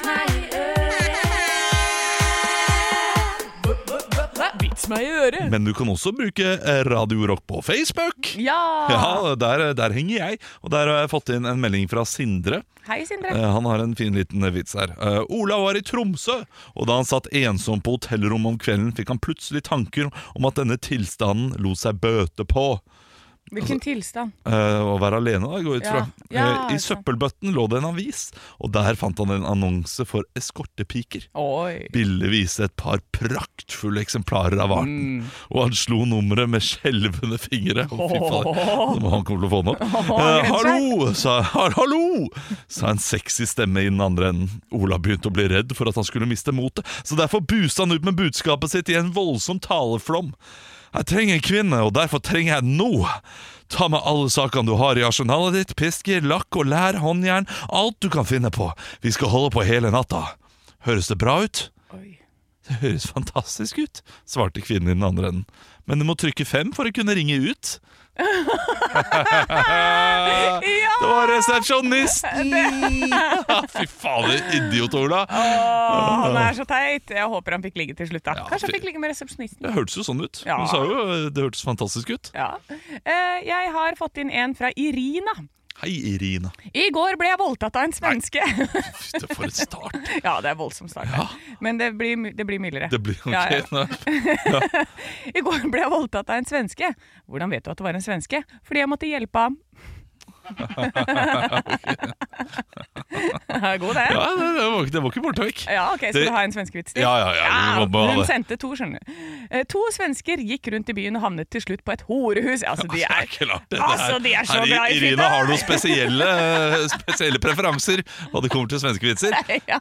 S3: Knuts meg i øret!
S2: Men du kan også bruke eh, Radio Rock på Facebook.
S3: Ja!
S2: Ja, der, der henger jeg. Og der har jeg fått inn en melding fra Sindre.
S3: Hei, Sindre.
S2: Eh, Han har en fin liten vits her. Eh, Ola var i Tromsø, og da han satt ensom på hotellrommet om kvelden, fikk han plutselig tanker om at denne tilstanden lot seg bøte på. altså-
S3: Hvilken tilstand.
S2: Eh, å være alene, da, går jeg ut fra.
S3: Ja. altså. Ja,
S2: Eh, I
S3: ikke sant.
S2: søppelbøtten lå det en avis, og der fant han en annonse for eskortepiker.
S3: Oi.
S2: Bille viste et par praktfulle eksemplarer av arten, og han slo nummeret med skjelvende fingre. Å, fy faen, Nå må han kommer til å få den opp. Eh, hallo, sa, har, hallo, sa en sexy stemme i den andre enden. Ola begynte å bli redd for at han skulle miste motet, så derfor buste han ut med budskapet sitt i en voldsom taleflom. Jeg trenger en kvinne, og derfor trenger jeg den nå. Ta med alle sakene du har i arsenalet ditt, pisker, lakk og lær, håndjern, alt du kan finne på. Vi skal holde på hele natta. Høres det bra ut?
S3: Oi.
S2: Det høres fantastisk ut, svarte kvinnen i den andre enden. Men du må trykke fem for å kunne ringe ut.
S3: Ja!
S2: Det var resepsjonisten! Fy fader, idiot, Ola.
S3: Åh, han er så teit. Jeg håper han fikk ligge til slutt. da Kanskje han
S2: fy-
S3: fikk ligge med resepsjonisten.
S2: Det hørtes jo sånn ut.
S3: Ja.
S2: Hun sa jo eh, det hørtes fantastisk ut.
S3: Ja. Eh, jeg har fått inn en fra Irina.
S2: Hei, Irina.
S3: I går ble jeg voldtatt av en svenske.
S2: Fy, det for en start.
S3: ja, det er voldsom start. Men det blir, my- det blir mildere.
S2: Det blir ok.
S3: Ja, ja.
S2: Nei.
S3: I går ble jeg voldtatt av en svenske. Hvordan vet du at det var en svenske? Fordi jeg måtte hjelpe ham. God det.
S2: Ja, det, det, var, det var ikke borte vekk.
S3: Ja, ok, Skal
S2: Det-
S3: du ha en svenskevits til?
S2: Ja, ja, ja, vi må bare ha
S3: hun
S2: det.
S3: sendte to, skjønner du. Eh, To svensker gikk rundt i byen og havnet til slutt på et horehus. Altså, de
S2: Det
S3: er,
S2: er klart det.
S3: altså, de er så
S2: Her,
S3: bra i
S2: Irina har
S3: fitte.
S2: noen spesielle, eh, spesielle preferanser og det kommer til svenske vitser.
S3: ja.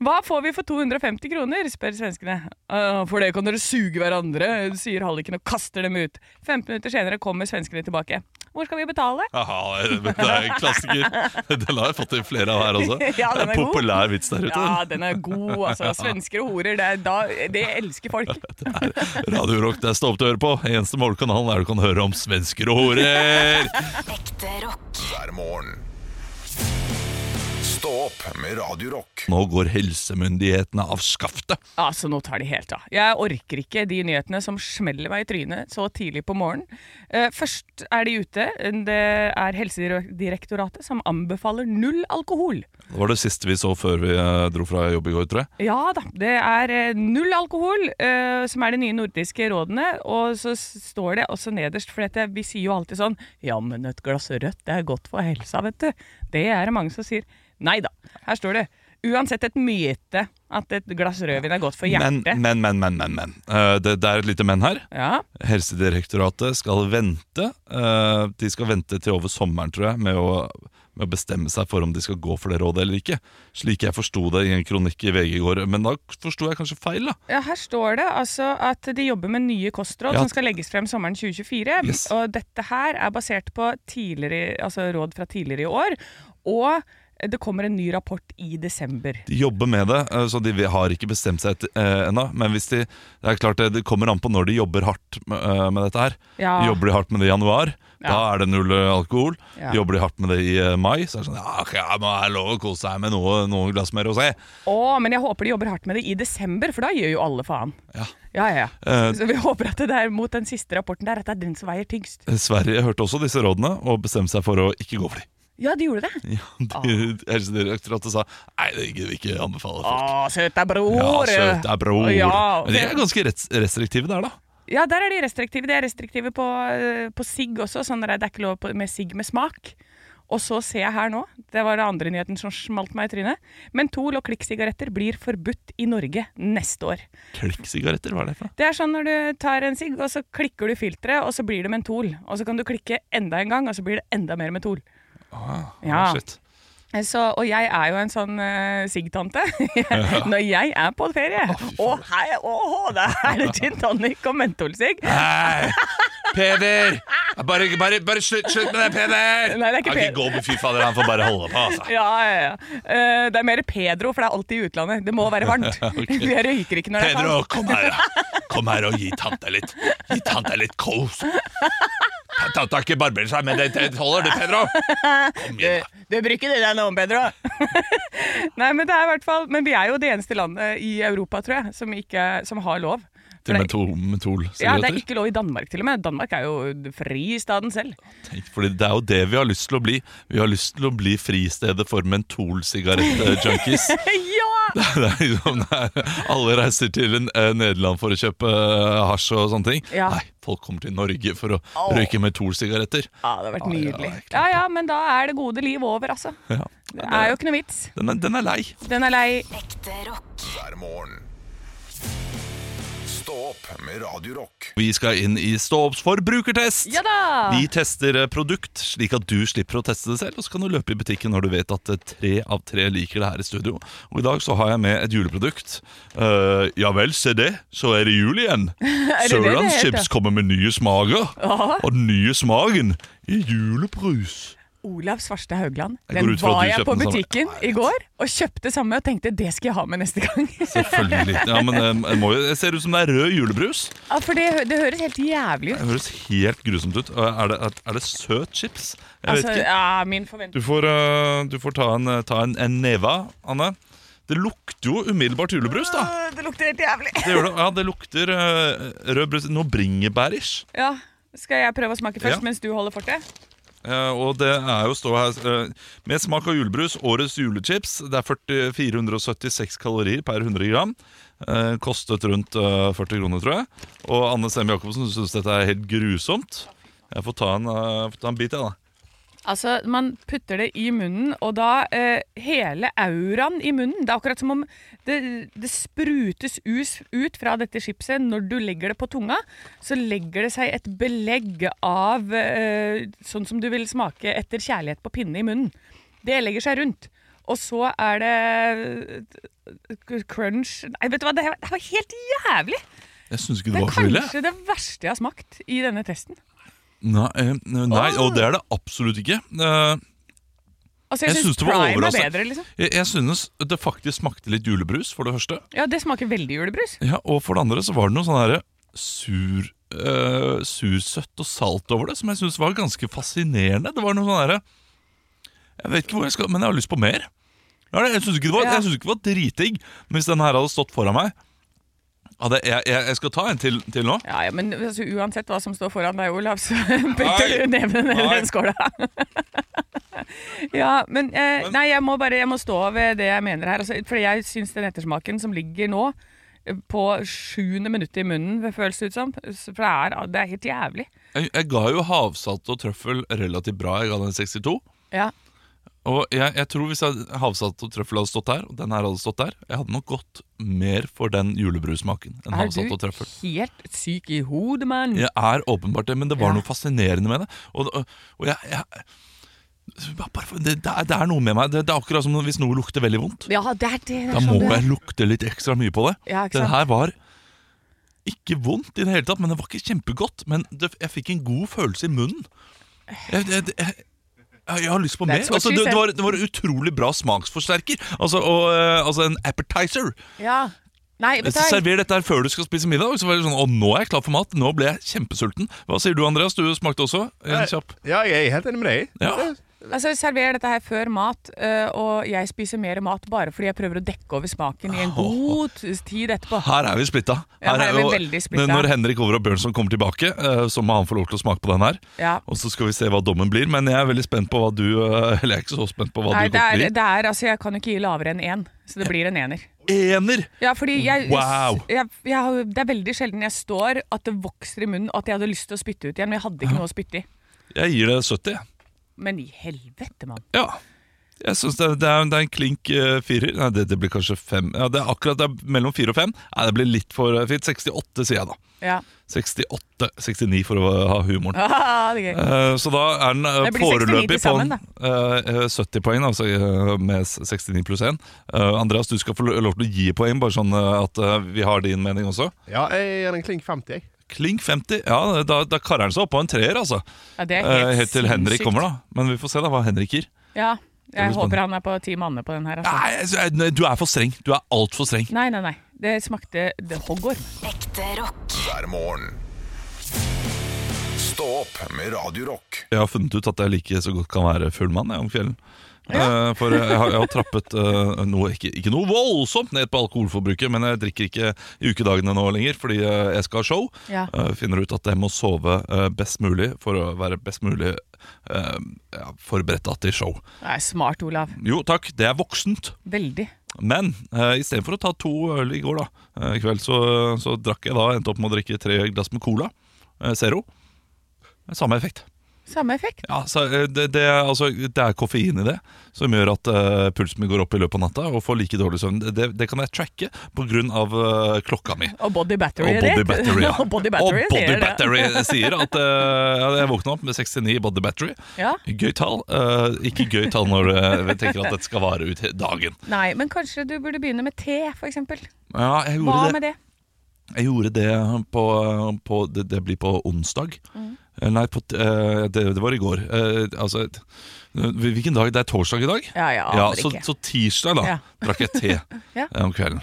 S3: Hva får vi for 250 kroner, spør svenskene. «Øh, for det kan dere suge hverandre, sier halliken og kaster dem ut. 15 minutter senere kommer svenskene tilbake. Hvor skal vi betale?
S2: Aha, det er en klassiker. Den har jeg fått i flere av her også.
S3: Ja, den er god.
S2: Altså, Populær vits der ute.
S3: Ja, den er god, altså. Svensker og horer, det, er da, det elsker folk.
S2: Radio Rock, det er stopp til å høre på. Eneste målekanalen der du kan høre om svensker og horer.
S6: Ekte rock.
S1: hver morgen. Stå opp med Radio Rock.
S2: Nå går helsemyndighetene av skaftet.
S3: Altså, nå tar de helt av. Jeg orker ikke de nyhetene som smeller meg i trynet så tidlig på morgenen. Eh, først er de ute. Det er Helsedirektoratet som anbefaler null alkohol.
S2: Det var det siste vi så før vi eh, dro fra jobb i går, tror jeg.
S3: Ja da. Det er eh, null alkohol, eh, som er de nye nordiske rådene. Og så s- står det også nederst, for dette, vi sier jo alltid sånn Ja, men et glass rødt, det er godt for helsa, vet du. Det er det mange som sier. Nei da. Her står det uansett et myte at et glass rødvin er godt for
S2: Men,
S3: hjertet.
S2: men, men, men. men, men. Eh, det, det er et lite men her.
S3: Ja.
S2: Helsedirektoratet skal vente. eh, de skal vente til over sommeren, tror jeg, med å, med å bestemme seg for om de skal gå for det rådet eller ikke. Slik jeg forsto det i en kronikk i VG i går. Men da forsto jeg kanskje feil, da.
S3: Ja, her står det altså at de jobber med nye kostråd
S2: Ja.
S3: som skal legges frem sommeren 2024.
S2: Yes.
S3: Og dette her er basert på tidligere, altså råd fra tidligere i år. Og det kommer en ny rapport i desember.
S2: De jobber med det, eh, så de har ikke bestemt seg et- eh, ennå. Men hvis de, det er klart eh, det, det kommer an på når de jobber hardt med, eh, med dette her.
S3: Ja.
S2: Jobber de hardt med det i januar, da
S3: Ja.
S2: er det null eh, alkohol.
S3: Ja.
S2: Jobber de hardt med det i eh, mai, så er det sånn ja, ok, ja, nå er det lov å kose seg med noe, noen glass mer rosé.
S3: Å, men jeg håper de jobber hardt med det i desember, for da gjør jo alle faen.
S2: Ja.
S3: Ja, ja, ja.
S2: Eh,
S3: Så vi håper at det der mot den siste rapporten der, at det er den som veier tyngst.
S2: Sverige hørte også disse rådene og bestemte seg for å ikke gå for dem.
S3: Ja, ah. de gjorde det.
S2: Ja, de- Helsedirektoratet sa nei, det gidder vi ikke anbefale
S3: Å,
S2: folk.
S3: søta bror.
S2: Ja, søt er bror.
S3: Ah, Ja,
S2: Men de er ganske rets- restriktive der, da.
S3: Ja, der er de restriktive. De er restriktive på, eh, på sigg også. Sånn der, det er ikke lov på, med sigg med smak. Og så ser jeg her nå, det var den andre nyheten som smalt meg i trynet. Mentol- og klikksigaretter blir forbudt i Norge neste år.
S2: Klikksigaretter, hva er det for noe?
S3: Det er sånn når du tar en sigg, og så klikker du filteret, og så blir det mentol. Og så kan du klikke enda en gang, og så blir det enda mer mentol. Ja.
S2: Ah, oh, Shit.
S3: Så, og jeg er jo en sånn uh, sigg-tante. Når jeg er på ferie, og hei, åh, da er det gin tonic og mentolsigg.
S2: Nei! Peder! Bare, bare, bare slutt, slutt med det, Peder!
S3: Nei, det er ikke
S2: Ja,
S3: Peder.
S2: gå med fy fader, han får bare holde på, altså.
S3: Ja, ja, ja. Eh, det er mer Pedro, for det er alltid i utlandet. Det må være varmt. Jeg røyker ikke når det er
S2: Pedro,
S3: kaldt.
S2: kom her, da. Kom her og gi tante litt. Gi tante litt kos. Tante har ikke barbert seg, men det, det holder, det, Pedro. Kom igjen, da.
S3: Du bruker det der nå, Pedro. Nei, men det er i hvert fall Men vi er jo det eneste landet i Europa, tror jeg, som, ikke, som har lov.
S2: til metol, metolsigaretter.
S3: Ja, Det er ikke lov i Danmark, til og med. Danmark er jo fristaden selv.
S2: Tenk, fordi det er jo det vi har lyst til å bli. Vi har lyst til å bli fristedet for mentolsigarett-junkies.
S3: ja!
S2: Det er liksom, det er, alle reiser til eh, Nederland for å kjøpe eh, hasj og sånne ting.
S3: Ja.
S2: Nei, folk kommer til Norge for å røyke mentolsigaretter.
S3: ja det har
S2: Ja,
S3: vært
S2: ja, det
S3: nydelig.
S2: er klart.
S3: Ja, ja, men da er det gode liv over, altså.
S2: Ja.
S3: Det er jo ikke noe vits.
S2: Den, er- den er lei.
S3: Den er lei.
S6: Ekte rock.
S1: hver morgen. Stå opp med Radio Rock.
S2: Vi skal inn i Ståops forbrukertest.
S3: Ja da!
S2: Vi tester eh, produkt, slik at du slipper å teste det selv. Og så kan du løpe i butikken når du vet at eh, tre av tre liker det her i studio. Og i dag så har jeg med et juleprodukt. Eh, ja vel, se det, så er det jul igjen.
S3: det det det
S2: Sørlandschips
S3: heter?
S2: kommer med nye smaker. Og den nye smaken er julebrus.
S3: Olav Svarstad Haugland.
S2: Jeg går
S3: Den
S2: ut fra at
S3: var
S2: du
S3: jeg
S2: kjøpte
S3: på
S2: den samme.
S3: butikken i går og kjøpte samme og tenkte det skal jeg ha med neste gang.
S2: Selvfølgelig. Ja, men eh, det må jo- det ser ut som det er rød julebrus.
S3: ja, for det, hø- det høres helt jævlig ut.
S2: Det høres helt grusomt ut. Eh, Er det, er det søt chips? Jeg vet
S3: Altså,
S2: ikke.
S3: ja, min forventning
S2: Du får, eh, du får ta en, ta en, en neve, Anne. Det lukter jo umiddelbart julebrus, da.
S3: Øh, Det lukter helt jævlig.
S2: Det gjør det. Ja, det lukter uh, rød brus. Noe bringebærish.
S3: Ja, Skal jeg prøve å smake først
S2: Ja.
S3: mens du holder fortet?
S2: Eh, og det er jo å stå her eh, med smak av julebrus, årets julechips. Det er 40, 476 kalorier per 100 gram. Eh, kostet rundt eh, 40 kroner, tror jeg. Og Anne Stemme Jacobsen syns dette er helt grusomt. Jeg får ta en, eh, får ta en bit, jeg, da.
S3: Altså, Man putter det i munnen, og da eh, hele auraen i munnen Det er akkurat som om det, det sprutes us ut fra dette chipset når du legger det på tunga. Så legger det seg et belegg av eh, sånn som du vil smake etter kjærlighet på pinne i munnen. Det legger seg rundt. Og så er det eh, crunch Nei, vet du hva, det her- det her var helt jævlig!
S2: Jeg syns ikke
S3: Det
S2: det
S3: er
S2: var så ille.
S3: kanskje det verste jeg har smakt i denne testen.
S2: Nei, eh, nei, og det er det absolutt ikke. Eh,
S3: Altså,
S2: Jeg
S3: jeg,
S2: synes
S3: syns
S2: det var
S3: Prime er
S2: overraskende.
S3: bedre, liksom.
S2: Jeg, jeg synes det faktisk smakte litt julebrus, for det første.
S3: Ja, det smaker veldig julebrus.
S2: Ja, Og for det andre så var det noe sånn herre sur eh, sursøtt og salt over det, som jeg syns var ganske fascinerende. Det var noe sånn herre Jeg vet ikke hvor jeg skal, men jeg har lyst på mer. Ja, det- jeg syns ikke, det var-
S3: Ja.
S2: jeg synes ikke det var dritdigg, men hvis den her hadde stått foran meg hadde jeg, jeg, jeg skal ta en til, til nå.
S3: Ja, ja, men altså, uansett hva som står foran deg, Olav, så putter du neven ned i
S2: Nei.
S3: den skåla. ja, men eh, Nei, jeg må bare jeg må stå ved det jeg mener her. Altså, for jeg syns den ettersmaken som ligger nå, eh, på sjuende minuttet i munnen, det føles det ut som. For det er, det er helt jævlig.
S2: Jeg, jeg ga jo havsalt og trøffel relativt bra. Jeg ga den 62.
S3: Ja.
S2: Og jeg, jeg tror hvis jeg havsalt og trøffel hadde stått der, og den her hadde stått der Jeg hadde nok gått mer for den julebrussmaken enn
S3: Er
S2: havsalt og
S3: du
S2: trøffel.
S3: helt syk i hodet, mann?
S2: Jeg er åpenbart det, men det var
S3: Ja.
S2: noe fascinerende med det. Og, og- og jeg, jeg bare, for- det, det, er, det er noe med meg. Det, det er akkurat som hvis noe lukter veldig vondt.
S3: Ja, det er sånn det.
S2: Da må jeg lukte litt ekstra mye på det.
S3: Ja, ikke
S2: det
S3: sant?
S2: her var ikke vondt i det hele tatt, men det var ikke kjempegodt. Men det, jeg fikk en god følelse i munnen. Jeg, jeg, jeg, jeg, jeg har lyst på mer.
S3: That's what
S2: Altså,
S3: she
S2: det, det,
S3: said.
S2: var, det var utrolig bra smaksforsterker. Altså, og, eh, altså en appetizer.
S3: Ja. Nei, vet du hva?
S2: Server dette her før du skal spise middag. Så var det sånn, og nå er jeg klar for mat. Nå ble jeg kjempesulten. Hva sier du, Andreas? Du smakte også? En kjapp.
S5: Ja, jeg er helt enig med deg.
S2: Ja.
S3: Altså, Server dette her før mat, øh, og jeg spiser mer mat bare fordi jeg prøver å dekke over smaken i en god t- tid etterpå.
S2: Her er vi splitta.
S3: Ja, her er vi
S2: jo-
S3: veldig splitta.
S2: Når Henrik Over og Bjørnson kommer tilbake, eh, så må han få lov til å smake på den her.
S3: Ja.
S2: Og så skal vi se hva dommen blir, men jeg er veldig spent på hva du eh, Eller jeg er ikke så spent på hva
S3: Nei,
S2: du
S3: det
S2: kommer
S3: er,
S2: til å
S3: det er, altså, jeg kan jo ikke gi lavere enn én, så det blir en ener.
S2: bli. Ener!
S3: Ja, fordi jeg,
S2: Wow.
S3: jeg, jeg, har- Det er veldig sjelden jeg står at det vokser i munnen, og at jeg hadde lyst til å spytte ut igjen, men jeg hadde ikke noe å spytte i.
S2: Jeg gir det 70. jeg.
S3: Men i helvete, mann.
S2: Ja. Jeg synes det, er- det, er, det er en klink eh, firer. Nei, det, det blir kanskje fem. Ja, det er akkurat det er mellom fire og fem. Nei, det blir litt for eh, fint. 68, sier jeg da.
S3: Ja.
S2: 68, 69 for å ha humoren.
S3: Ah, det er gøy.
S2: Eh, Så da er den eh,
S3: Det blir 69
S2: foreløpig
S3: til
S2: på
S3: sammen,
S2: en, eh, eh, 70 poeng, altså eh, med s- 69 pluss 1. Andreas, du skal få lo- lov til å gi poeng, bare sånn eh, at eh, vi har din mening også.
S5: Ja, jeg gir den klink 50, jeg.
S2: Klink 50. Ja, da, da karrer han seg opp på en treer, altså.
S3: Ja, det er
S2: Eh,
S3: helt,
S2: Helt til Henrik
S3: sinnssykt.
S2: kommer, da. Men vi får se da hva Henrik gir.
S3: Ja, jeg
S2: blir
S3: håper han er på ti manner på den her. Altså.
S2: Nei, altså, eh, nei, du er for streng. Du er altfor streng.
S3: Nei, nei, nei. Det smakte det hoggorm.
S6: Ekte rock.
S1: hver morgen. Stå opp med Radio Rock.
S2: Jeg har funnet ut at jeg like så godt kan være full mann jeg, om kvelden. Eh, for jeg har, jeg har trappet eh, noe, ikke, ikke noe voldsomt ned på alkoholforbruket, men jeg drikker ikke i ukedagene nå lenger fordi eh, jeg skal ha show.
S3: Ja.
S2: Eh, finner ut at jeg må sove eh, best mulig for å være best mulig eh, ja, forberedt da til show.
S3: Det er smart, Olav.
S2: Jo takk, det er voksent.
S3: Veldig.
S2: Men eh, istedenfor å ta to øl i går da eh, i kveld, så, så drakk jeg da endte opp med å drikke tre glass med cola. Eh, zero. Eh, Samme effekt.
S3: Samme effekt.
S2: Ja, så eh, det, det, er- altså, det er koffein i det som gjør at eh, pulsen min går opp i løpet av natta og får like dårlig søvn. Det, det kan jeg tracke pga. Uh, klokka mi.
S3: Og body battery.
S2: Og body
S3: rett.
S2: battery, ja.
S3: og body battery,
S2: og body
S3: sier det.
S2: battery sier at eh, ja, jeg våkna opp med 69 body battery.
S3: Ja.
S2: Gøy tall. eh, ikke gøy tall når eh, vi tenker at dette skal vare ut he- dagen.
S3: Nei, men kanskje du burde begynne med te, for eksempel.
S2: Ja, jeg
S3: Hva
S2: gjorde det,
S3: med det?
S2: jeg gjorde det eh, på, på det, det blir på onsdag.
S3: Mm.
S2: Eh, Nei, på, t- eh, det, det var i går. Eh, altså, t- hvilken dag? Det er torsdag i dag?
S3: Ja, ja,
S2: Ja,
S3: aner
S2: så,
S3: ikke.
S2: så tirsdag da
S3: Ja.
S2: drakk jeg te
S3: Ja.
S2: eh, om kvelden.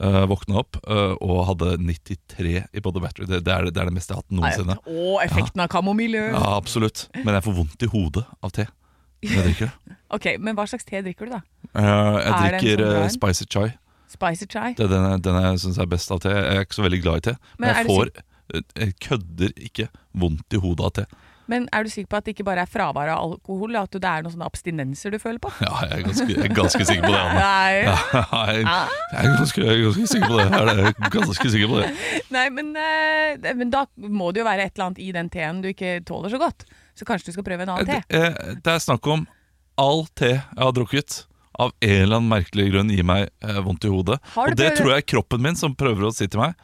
S2: Eh, våkna opp eh, og hadde 93 i body battery. Det, det, er, det er det meste jeg har hatt noensinne.
S3: Og effekten av kamomille.
S2: Ja, absolutt. Men jeg får vondt i hodet av te når jeg drikker det.
S3: Ok, men hva slags te drikker du, da?
S2: Eh, jeg
S3: Er det en
S2: drikker
S3: sånn
S2: eh,
S3: brun?
S2: spicy chai.
S3: Spicy chai?
S2: Det er den, jeg- den jeg syns er best av te. Jeg er ikke så veldig glad i te, men,
S3: Men er
S2: jeg
S3: du
S2: får eh, jeg kødder ikke vondt i hodet av te.
S3: Men er du sikker på at det ikke bare er fravær av alkohol, at det er noen sånne abstinenser du føler på?
S2: Ja, jeg er ganske, jeg er ganske sikker på det, Anne.
S3: Nei,
S2: Ja, jeg, jeg, er ganske, jeg er ganske sikker på det. Jeg er det- ganske sikker på det.
S3: Nei men, eh, det- men da må det jo være et eller annet i den teen du ikke tåler så godt. Så kanskje du skal prøve en annen te?
S2: Det, eh, det er snakk om all te jeg har drukket av en eller annen merkelig grunn gir meg eh, vondt i hodet.
S3: Har du
S2: Og det
S3: prøvd-
S2: tror jeg er kroppen min som prøver å si til meg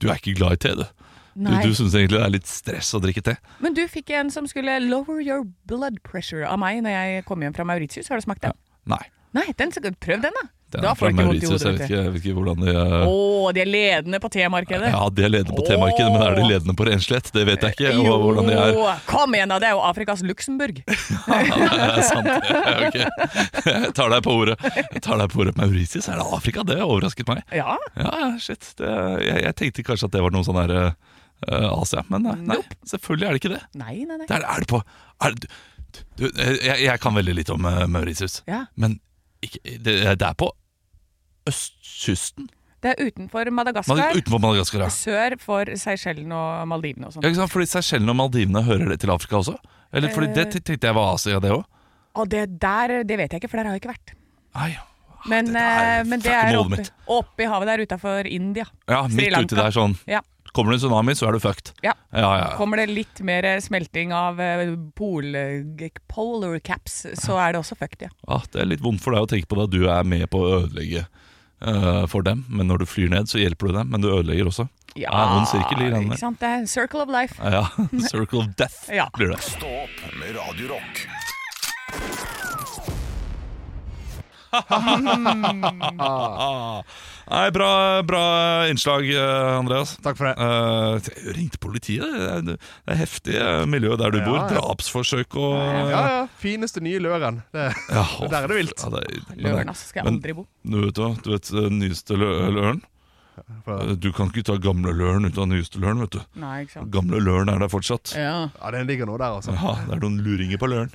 S2: Du er ikke glad i te, du. Du,
S3: Nei.
S2: du syns egentlig det er litt stress å drikke te.
S3: Men du fikk en som skulle lower your blood pressure av meg når jeg kom hjem fra Mauritius. Har du smakt den?
S2: Nei.
S3: Nei, den, skal- prøv den, da.
S2: Det
S3: da
S2: er fra
S3: får du ikke vondt i
S2: Mauritius. Jeg vet
S3: hodet. vet du.
S2: ikke, jeg vet ikke hvordan de eh,
S3: Å, de er ledende på temarkedet.
S2: Ja, de er ledende på temarkedet, men er de
S3: Åh.
S2: ledende på renslighet? Det vet jeg ikke. Og hvordan de er
S3: Jo, Kom igjen, da! Det er jo Afrikas Luxembourg.
S2: Det er sant. det. Ok. Jeg tar deg på ordet. Jeg tar deg på ordet Mauritius, er det Afrika? Det overrasket meg.
S3: Ja.
S2: Ja, shit. Det, jeg, jeg tenkte kanskje at det var noe sånn her eh, Asia, men nei, nei, selvfølgelig er det ikke det.
S3: Nei, nei, nei.
S2: Det er, er det på er, det- du, du, jeg, jeg kan veldig litt om eh, Mauritius,
S3: Ja.
S2: men ikke, det, det er på østkysten.
S3: Det er utenfor Madagaskar.
S2: Mad- Utenfor Madagaskar, ja.
S3: Sør for Seychellene og Maldivene og sånn.
S2: Ja, ikke sant? Fordi Seychellen og Maldivene hører det til Afrika også? Eller fordi Det
S3: Eh.
S2: te- tenkte jeg var Asia, det òg.
S3: Og det der, det vet jeg ikke, for der har jeg ikke vært. Men
S2: Dette
S3: det,
S2: Ah, er
S3: men det
S2: fucking
S3: er
S2: hodet
S3: oppi,
S2: mitt.
S3: oppi havet der utafor India.
S2: Ja,
S3: Sri
S2: midt uti
S3: Lanka.
S2: der sånn.
S3: Ja.
S2: Kommer det en tsunami, så er du fucked.
S3: Ja.
S2: Ja, ja.
S3: Kommer det litt mer smelting av eh, pol, eh, polar caps, så er det også fucked, ja.
S2: Ah, det er litt vondt for deg å tenke på det at du er med på å ødelegge eh, for dem. Men når du flyr ned, så hjelper du dem, men du ødelegger også.
S3: Ja,
S2: Det er noen Ah, sirkel i greiene der.
S3: ikke sant? Det er en circle of life.
S2: Ah, ja. Circle of death
S3: Ja.
S2: blir det.
S1: Stå opp med Radio Rock.
S2: Ah. Nei, bra, bra innslag, eh, Andreas.
S5: Takk for det.
S2: Eh, jeg ringte politiet. Det er, det er heftig eh, miljø der du bor.
S5: ja.
S2: Drapsforsøk og
S5: Ja, ja. Fineste nye Løren. Det.
S2: Ja,
S5: Der er det vilt.
S2: Ja, det, men det-
S3: Løren, altså, skal jeg
S2: men-
S3: aldri bo.
S2: Du vet hva, du vet eh, nyeste lø løren Eh, Du kan ikke ta gamle løren ut av nyeste løren, vet du
S3: Nei, ikke sant.
S2: Gamle løren er der fortsatt
S3: Ja.
S5: Ja, den ligger nå der, altså.
S2: Ja, det er noen luringer på løren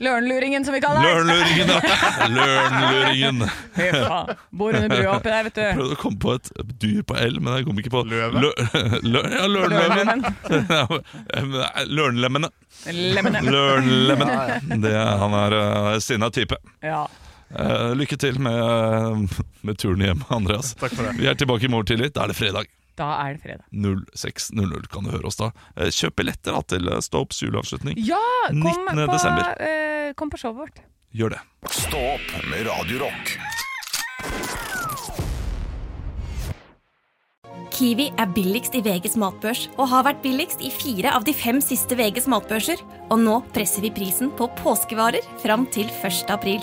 S3: Lørenluringen, som vi kaller det.
S2: Lørenluringen, ja Lørenluringen
S3: Fy faen. Bor under brua oppi der, vet du.
S2: Prøvde å komme på et dyr på L, men jeg kom ikke på
S5: Løve?
S2: Lø lø ja, lørenløven Ja, men, eh, Lørenlemmene
S3: Lemmene.
S2: Lørenlemmene Det er, Han er eh, sinna type
S3: Ja.
S2: Eh, Lykke til med, eh, med turen hjem, Andreas
S5: Takk for det.
S2: Vi er tilbake i morgen tidlig, da er det fredag
S3: Da er det fredag.
S2: 06.00 kan du høre oss da. Eh, Kjøp billetter da, til eh, Stopes juleavslutning.
S3: Ja,
S2: 19.
S3: kom på,
S2: desember.
S3: eh, kom på showet vårt.
S2: Gjør det.
S1: Stå opp med Radio Rock.
S7: Kiwi er billigst i VGs matbørs og har vært billigst i fire av de fem siste VGs matbørser. Og nå presser vi prisen på påskevarer fram til 1. april.